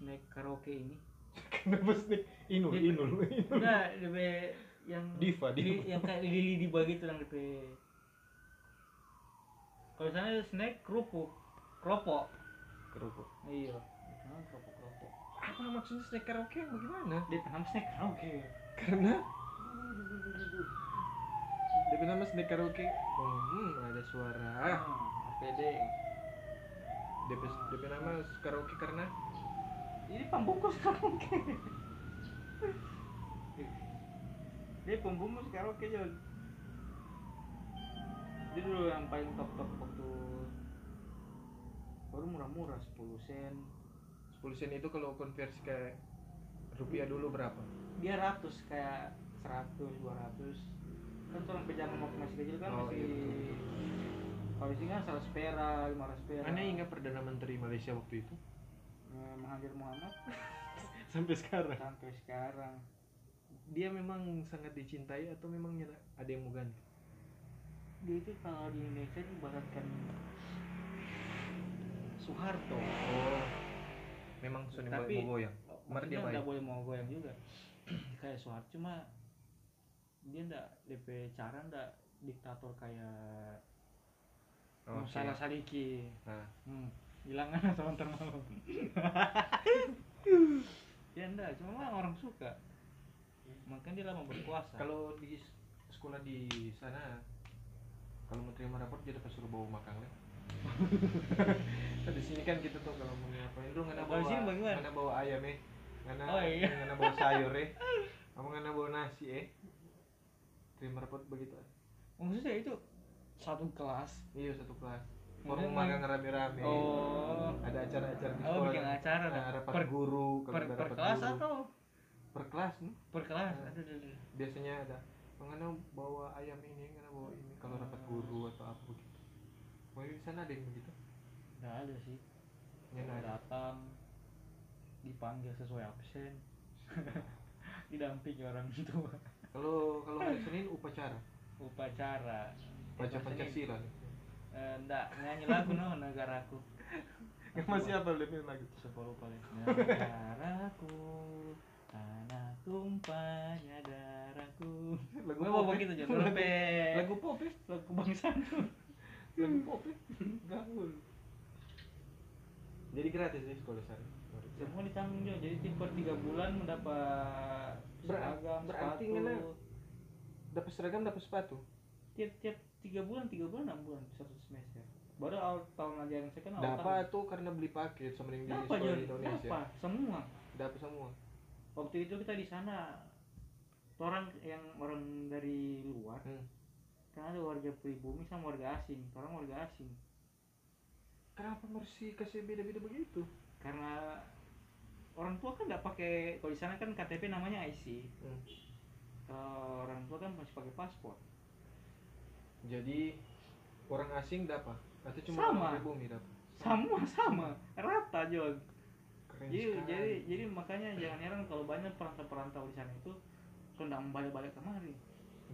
snack karaoke ini.
kenapa snack inul
Dia-
inul
Enggak, lebih yang
Diva,
li-
diva.
yang kayak lili di bagi itu yang gitu kalau di sana snack kerupuk keropok
kerupuk
iya Vietnam keropok keropok
apa maksudnya snack karaoke yang bagaimana
Vietnam snack karaoke
karena tapi nama snack karaoke oh, hmm, ada suara
ah APD
DP, DP nama karaoke karena
ini pembungkus karaoke dia pembungkus karaoke John dia dulu yang paling top top waktu baru murah-murah 10 sen
10 sen itu kalau konversi ke rupiah dulu berapa
dia ratus kayak 100 200 kan kalau pejangan waktu masih kecil kan
Oh,
masih
iya, betul,
kalau di sini kan 100 pera 500 pera
Anda ingat Perdana Menteri Malaysia waktu itu?
Eh, Mahathir Muhammad
Sampai sekarang
sampai sekarang
Dia memang sangat dicintai atau memang nyana- ada yang mau ganti?
dia itu kalau di Indonesia diibaratkan Soeharto
Oh Memang Sony
Tapi-
mau goyang Maksudnya
Oh, maksudnya
baik.
nggak boleh mau goyang juga kayak Soeharto cuma dia ndak DP cara ndak diktator kayak
Oh,
Musa
oke.
Saliki
Nah,
Hmm, hilang kan sama ntar malam. ya enggak, cuma mah orang suka. Makanya dia lama berkuasa.
Kalau di s- sekolah di sana kalau mau terima rapor dia dapat suruh bawa makan lah. di sini kan kita tuh kalau mau ngapain lu ngana
Kalau
bawa
di sini bagaimana?
ngana bawa ayam eh. Ngana
Oh, iya.
ngana bawa sayur eh. Kamu ngana bawa nasi eh. Terima rapor begitu.
maksudnya itu satu kelas.
Iya satu kelas. Mau
Kemudian
makan
main-
rame-rame.
Oh.
Ada acara-acara di
Oh,
sekolah.
bikin acara
Nah,
dah.
rapat
Per-
guru, kalau
Per,
ada
per
rapat
kelas
guru.
atau
per kelas nih.
per kelas?
Nah.
Aduh, aduh, aduh.
Biasanya ada ngana bawa ayam ini, ngana bawa ini kalau rapat guru atau apa gitu. begitu. Mau di sana ada yang begitu?
Nggak ada sih.
Yang
Kalau
Ya, ada.
datang dipanggil sesuai absen. Didampingi orang tua.
Kalau kalau hari Senin upacara,
Upacara.
baca
Upacara ini,
Pancasila.
eh, Nggak nyanyi lagu no negaraku.
Masih apa lebih gitu? lagi?
sepuluh paling negaraku tanah tumpahnya darahku
Lagu
gue
pop,
bawa
eh.
gitu aja
Lagu-
Dorpe
Lagu pop eh.
lagu bangsa
Lagu pop eh. Gaul. Jadi gratis ya sekolah sana.
semua ditanggung juga jadi tiap per tiga bulan mendapat
Ber-
seragam
berarti
sepatu
ngena. Dapat seragam, dapat sepatu.
tiap tiap tiga bulan tiga bulan enam bulan satu semester baru awal tahun ajaran saya kan awal
Dapat tuh karena beli paket sama yang
tahun
di
dapat
sekolah
jadi
di Indonesia.
dapat semua
Dapat semua.
waktu itu kita di sana orang yang orang dari luar
Hmm.
kan ada warga pribumi sama warga asing orang warga asing
Kenapa mesti kasih beda-beda begitu?
karena orang tua kan nggak pakai kalau di sana kan KTP namanya IC
Hmm.
kalau orang tua kan masih pakai paspor
Jadi orang asing dapat atau cuma
Sama.
orang pribumi dapat?
sama sama rata John
Keren
jadi
sekali.
jadi jadi makanya jangan heran kalau banyak perantau-perantau di sana itu sudah balik-balik kemari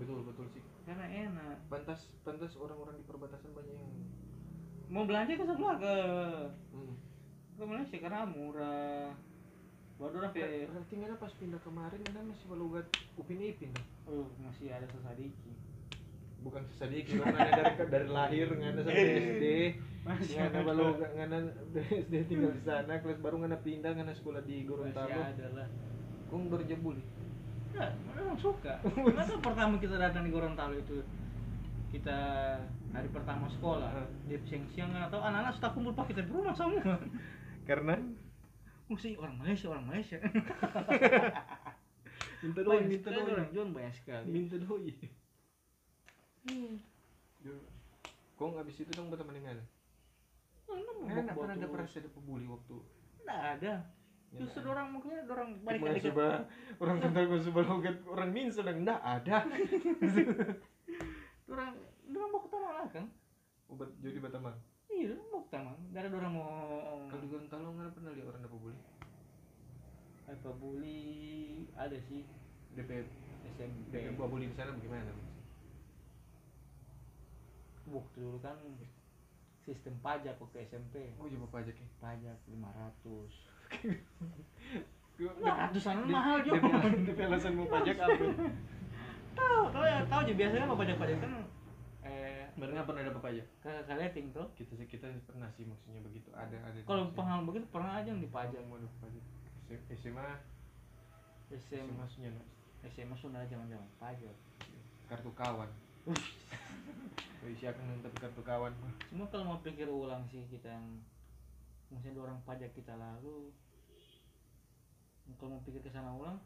betul betul sih.
karena enak
Pantas pantas orang-orang di perbatasan banyak yang
mau belanja ke semua ke
hmm.
ke Malaysia karena murah baru orang
Ber-
kayak
Berarti ngana pas pindah kemarin ngana masih balugat upin ipin dah.
oh masih ada sesadiki
Bukan sesadiki karena dari dari lahir ngana sampai SD.
masih
Ngana
ada
balugat ngana dari SD tinggal di sana kelas baru ngana pindah ngana sekolah di
masih
Gorontalo.
ada lah
Kung berjebul.
Enggak, Ya, memang suka. Masa pertama kita datang di Gorontalo itu kita hari pertama sekolah, dia siang-siang atau anak-anak sudah kumpul pakai di rumah semua.
Karena
Mesti orang Malaysia, orang Malaysia.
minta doi,
Banyak
minta
sekali
doi.
orang John banyak sekali.
Minta doi.
Iya.
Yo. Kong abis itu dong berteman dengan.
Oh,
Kan
Enggak
nggak pernah ada perasa ada pembuli waktu.
ada.
Ya,
Justru orang mungkin orang balik
Cuma
lagi.
coba orang kental gue coba logat orang min sedang nggak ada.
Orang orang mau ke taman lah kan?
Obat jadi batamang.
Iya, orang mau ke taman. Dari orang mau
Kalau di Gorontalo nggak pernah lihat orang ada pembuli.
apa bully ada sih
DP
SMP.
DP pembuli di sana bagaimana?
Waktu dulu kan sistem pajak waktu SMP.
Oh coba apa aja ki.
pajak 500
Dia-
ratusan
dia-
mahal
dia-
juga
dia alasan mau pajak apa?
tahu tahu ya tahu aja biasanya bapak bapak itu kan eh
Pernah pernah ada apa aja?
kakak rating tuh
Kita sih kita pernah sih maksudnya begitu ada ada. di
kalau
sini.
pengalaman begitu pernah aja yang dipajang
mau dipajak. S- SMA
SMA
SMA sunya nak.
SMA Sunda zaman zaman pajak
kartu kawan. Isi akan nonton kartu kawan.
cuma kalau mau pikir ulang sih kita yang mungkin orang pajak kita lalu kalau mau pikir ke sana ulang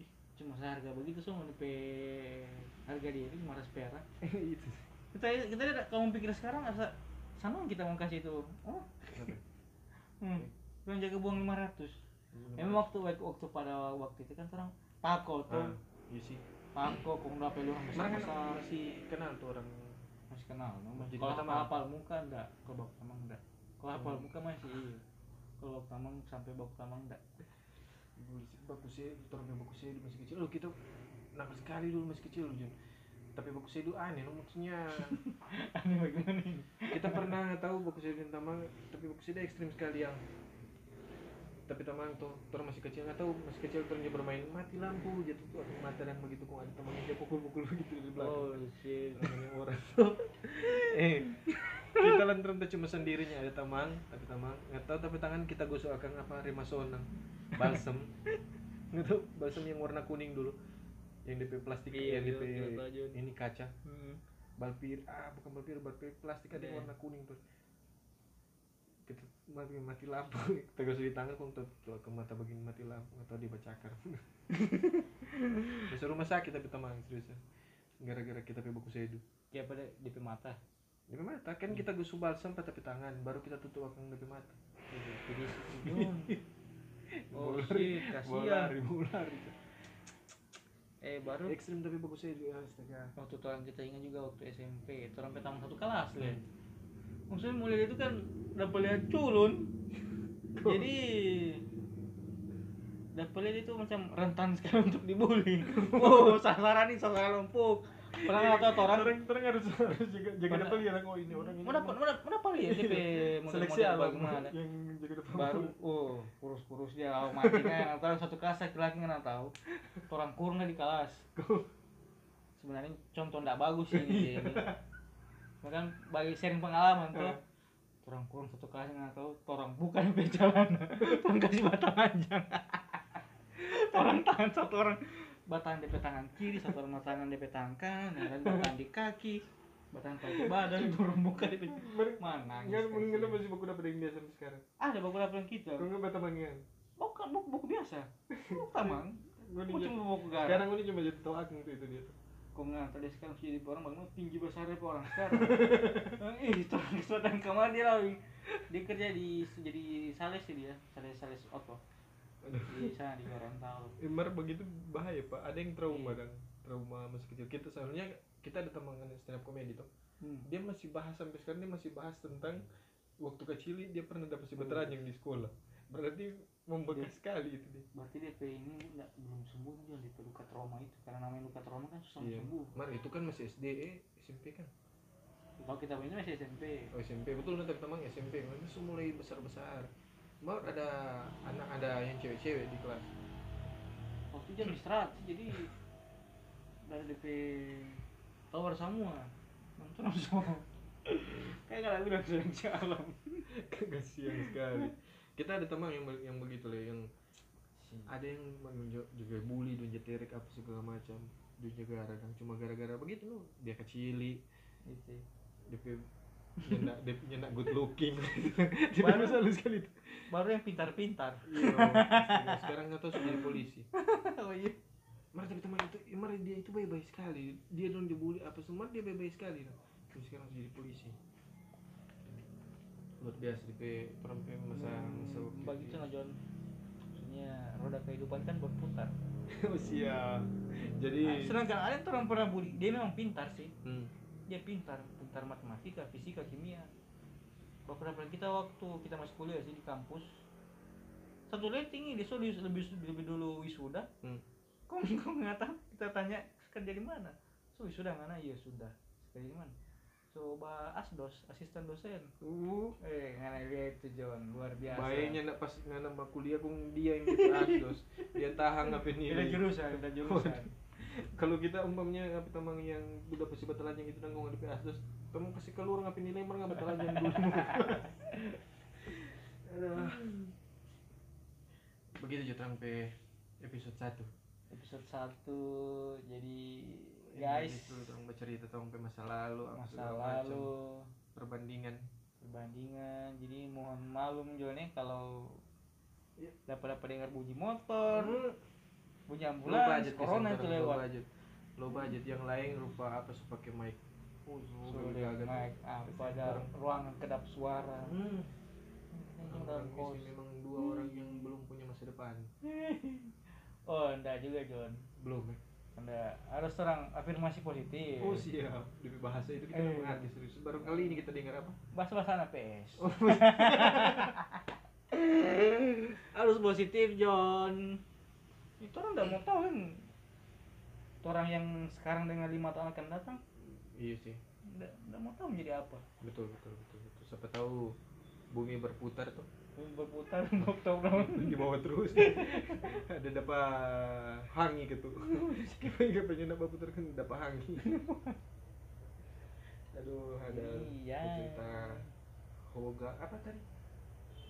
ih, cuma seharga begitu so mau dipe- harga dia itu cuma 100 perak
Itu.
kita kita lihat, kalau mau pikir sekarang asa sana kita mau kasih itu oh hmm. yang jaga buang 500 emang waktu waktu pada waktu itu kan orang pako tuh
Isi.
pako kong udah pelu orang besar
Mereka
besar
masih kenal tuh orang
masih kenal no?
Masih
masih kalau
kenal.
hafal hafal muka enggak kalau bak tamang enggak kalau
Hmm.
hafal muka masih iya kalau bak tamang sampai bak tamang enggak
bagusnya orang yang bagusnya dulu masih kecil lo kita nakal sekali dulu masih kecil Jun tapi bagusnya dulu aneh lo maksudnya
aneh bagaimana ini
kita pernah tahu bagusnya Jun tamang tapi bagusnya dia ekstrim sekali yang tapi tamang tuh orang masih kecil nggak tahu masih kecil terus dia bermain mati lampu jatuh tuh aduh, mata dan begitu kok ada temannya dia pukul-pukul begitu di belakang
shit
Namanya orang tuh eh kita lantaran tuh cuma sendirinya ada tamang tapi tamang nggak tahu tapi tangan kita gosok akan apa remasona balsem nggak tahu balsem yang warna kuning dulu yang DP plastik
Iya,
yang
iya,
DP
iya, tahu, Jun.
ini kaca balpir ah bukan balpir balpir plastik ada yang
Iya.
warna kuning tuh kita mati mati lampu kita gosok di tangan kok tuh tuh ke mata bagian mati lampu atau dia bacakar masuk rumah sakit tapi tamang seriusnya gara-gara kita pake buku sedu
ya pada DP mata
DP mata kan kita gusuk balsam pakai tangan baru kita tutup akang DP mata.
jadi Jun. oh
Bolari,
shit kasihan
bolari, bolari.
eh baru
Ekstrim tapi bagus aja juga astaga.
waktu itu orang kita ingat juga waktu SMP itu sampai tamu satu kelas lah maksudnya mulai itu kan dapat lihat culun jadi dapat lihat itu macam rentan sekali untuk dibully wow sasaran nih sasaran empuk pernah nggak tahu tuh orang
Nah, orang orang harus harus jaga jaga
Pada-
depan ya orang oh ini orang ini.
mana
orang-
mana mana paling ya tipe
seleksi alam
bagaimana
yang jaga depan
baru oh kurus kurus dia lawan matinya kan, atau satu kelas laki laki nggak tahu Tuh orang kurang di kelas sebenarnya contoh nggak bagus sih ini bahkan bagi sharing pengalaman tuh
Eh.
tuh orang kurang satu kelas nggak tahu tuh orang bukan pecalan orang kasih batang panjang Tuh orang tangan satu orang batang DP tangan kiri satu orang batangan DP tangan kanan yang lain batang di kaki batang pakai badan tuh orang bukan DP
Mereka-
mana
nggak
nangis
mungkin
kasihan. Ah,
masih buku dapat yang biasa sampai sekarang.
ada beberapa yang gitu. kita
Kau nggak baca mangan.
buku buku, buku biasa buku taman
Gua
buku
nih
cuma buku
sekarang
garam
gua nih cuma jadi tahu akang tuh itu dia. tuh.
kau nggak tadi sekarang jadi orang bangun tinggi besarnya pe orang sekarang ih itu orang kesempatan kemarin dia lagi dia kerja di jadi sales sih dia sales sales apa di sana di Gorontalo
Emar begitu bahaya pak. Ada yang trauma kan trauma masih kecil kita soalnya kita ada teman stand up comedy tuh
hmm.
dia masih bahas sampai sekarang dia masih bahas tentang waktu kecil dia pernah dapat si yang di sekolah berarti membekas sekali itu dia
berarti dia pe ini nggak belum sembuh nih dia DP luka trauma itu karena namanya luka trauma kan susah
Iya.
sembuh
Mar itu kan masih SD eh, SMP kan
kalau kita punya masih SMP
oh SMP betul nanti teman SMP kan itu mulai besar besar Mar ada anak ada yang cewek-cewek di kelas
waktu jam istirahat sih, jadi dari DP tower semua nonton semua kayak kalau udah seleksi alam
kasihan sekali kita ada teman yang yang begitu lah yang ada yang menunjuk- juga bully dan jeterik apa segala macam dia juga kadang cuma gara-gara begitu loh dia kecili
gitu
DP nyendak DP nyendak good looking DP
Baru-
masalah sekali itu
baru yang pintar-pintar
Iya, sekarang nggak tahu sudah jadi polisi
oh iya
Mar tapi teman itu ya, Mar dia itu baik-baik sekali dia dong dibully apa semua dia baik-baik sekali loh terus sekarang sudah jadi polisi luar biasa DP perempuan masa gitu. masa waktu
Hmm, bagi itu
itu.
nggak John maksudnya roda kehidupan kan berputar
oh siap jadi
nah, sedangkan Alien tuh orang pernah bully dia memang pintar sih
hmm.
dia pintar pintar matematika fisika kimia beberapa kita waktu kita masih kuliah sih di kampus satu rating dia sudah lebih lebih dulu wisuda
Hmm.
kok kok nggak tahu kita tanya kerja di mana so wisuda mana iya sudah kerja di mana coba asdos asisten dosen
Uh,
eh karena dia itu John luar biasa
baiknya nak pas nggak nama kuliah kung dia yang kita asdos dia tahan apa
beda
nilai
jurusan beda jurusan
kalau kita umpamanya apa tamang yang udah pasti batalan yang itu nanggung di asdos tamu kasih keluar ngapain nilai emang nggak batalan yang dulu Aduh. begitu jutang pe episode 1
episode 1 jadi guys
itu tong bercerita tong pe masa lalu apa
masa
segala macam.
lalu
perbandingan
perbandingan jadi mohon malum juga nih kalau
Iya.
dapat dapat dengar bunyi motor
Hmm,
bunyi
low
ambulans
budget
corona
kesan
itu
terang, low
lewat
budget low budget yang lain rupa apa sih pakai mic oh
sudah naik ah, pada ruangan kedap suara
Iya. hmm.
Ini
orang
orang kos.
Indonesia memang dua orang yang belum punya masa depan
oh enggak juga John
belum ya
enggak harus serang afirmasi positif
oh siap demi bahasa itu kita
Eh.
eh. mengerti serius baru kali ini kita dengar apa
bahasa bahasa PS harus positif John itu orang enggak mau tahu kan Itu orang yang sekarang dengan lima tahun akan datang
iya sih
enggak enggak mau tahu menjadi apa
betul betul betul betul siapa tahu bumi berputar tuh
berputar berputar berputar
di bawah terus ada dapat hangi gitu kita nggak pengen dapat putar kan dapat hangi aduh ada
Iya.
cerita hoga apa tadi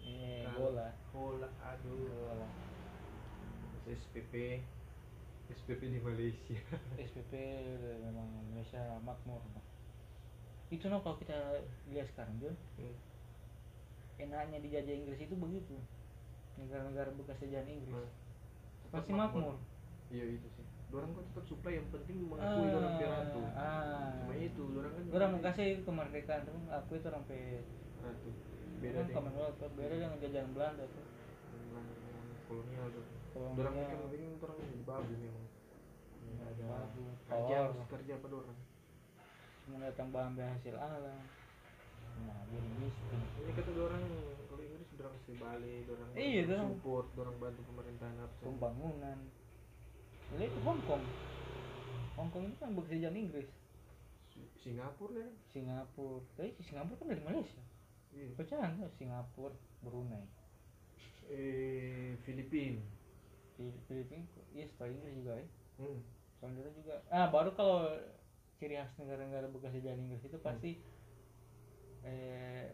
Eh,
Kalau-
bola.
hola aduh
Bola.
SPP SPP di Malaysia
SPP udah memang Indonesia makmur. Itu no kalau kita lihat sekarang John,
Hmm.
enaknya dijajah Inggris itu begitu. Negara-negara bekas jajahan Inggris
Hmm.
pasti
Tetap
makmur.
iya itu sih orang kan tetap supply yang penting mengakui orang piratu
ah.
cuma itu orang kan
Orang mengkasih kemerdekaan tapi aku itu orang pe
ratu beda
beda
deh
Commonwealth tuh, beda dengan jajahan Belanda tuh.
Orang yang kolonial tuh
Kalau
orang
dia-
kan penting orang di babi memang
Nggak ada babu,
kerja
Iya, power.
harus kerja apa orang
semua datang bahan hasil alam. Nah, jadi miskin.
ini kata orang kalau Inggris orang sih balik orang
Iya, dorang.
support orang bantu pemerintahan apa sih.
pembangunan jadi itu Hong Kong Hong Kong itu kan bekerja jalan Inggris
Si- Singapura kan
Singapura tapi si Singapura kan dari Malaysia
iya.
pecahan tuh Singapura Brunei
eh Filipina
Fil- Filipina iya setelah Inggris juga ya
hmm.
soalnya itu juga ah baru kalau ciri khas negara-negara bekas jalan Inggris itu pasti eh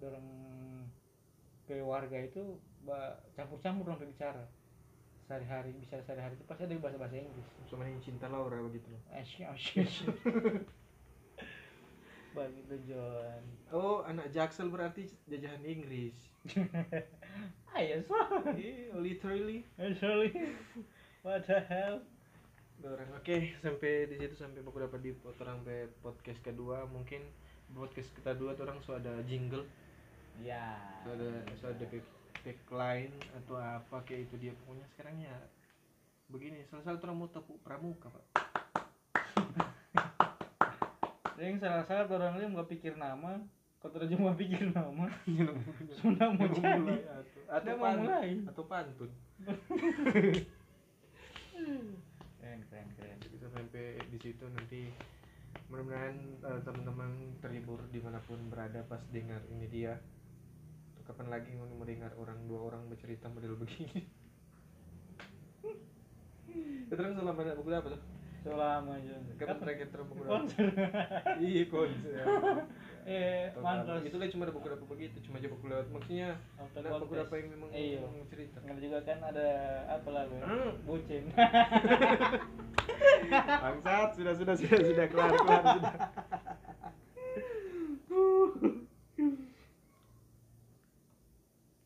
dorong ke warga itu ba- campur-campur orang berbicara sehari-hari bicara sehari-hari itu pasti ada bahasa-bahasa Inggris
sama yang cinta Laura begitu loh
Asyik, asyik, asyik. Begitu John.
oh anak Jaksel berarti jajahan Inggris
Ayo so.
iya literally
Actually, what the hell?
orang oke sampai di situ sampai aku dapat di pot- orang sampai podcast kedua mungkin podcast kita dua tuh orang so ada jingle
Ya.
so ada so ada pe- tagline atau apa kayak itu dia pokoknya sekarang ya begini selesai orang mau tepuk pramuka pak
Yang salah salah orang lain nggak pikir nama. Kau terjemah pikir nama.
Iya, lah, pokoknya.
Sudah
Mau
mau
mulai
jadi.
atau
Ada
atau
mau
pan-
mulai.
atau pantun Hmm.
Keren keren keren.
kita sampai di situ nanti mudah-mudahan eh, teman-teman terhibur dimanapun berada pas dengar ini dia kapan lagi mau mau dengar orang dua orang bercerita model begini terus selama ada buku apa tuh
Selama John.
kapan terakhir terus buku apa
Sponsor.
iya konser
Eh mantap.
itu kan lah cuma ada buku apa begitu cuma aja buku lewat maksudnya
Auto
ada buku
contest.
apa yang memang
Iya.
cerita
Nggak juga kan ada apa lagu? ya?
Hmm.
Bucin.
bangsat sudah sudah sudah sudah kelar kelar sudah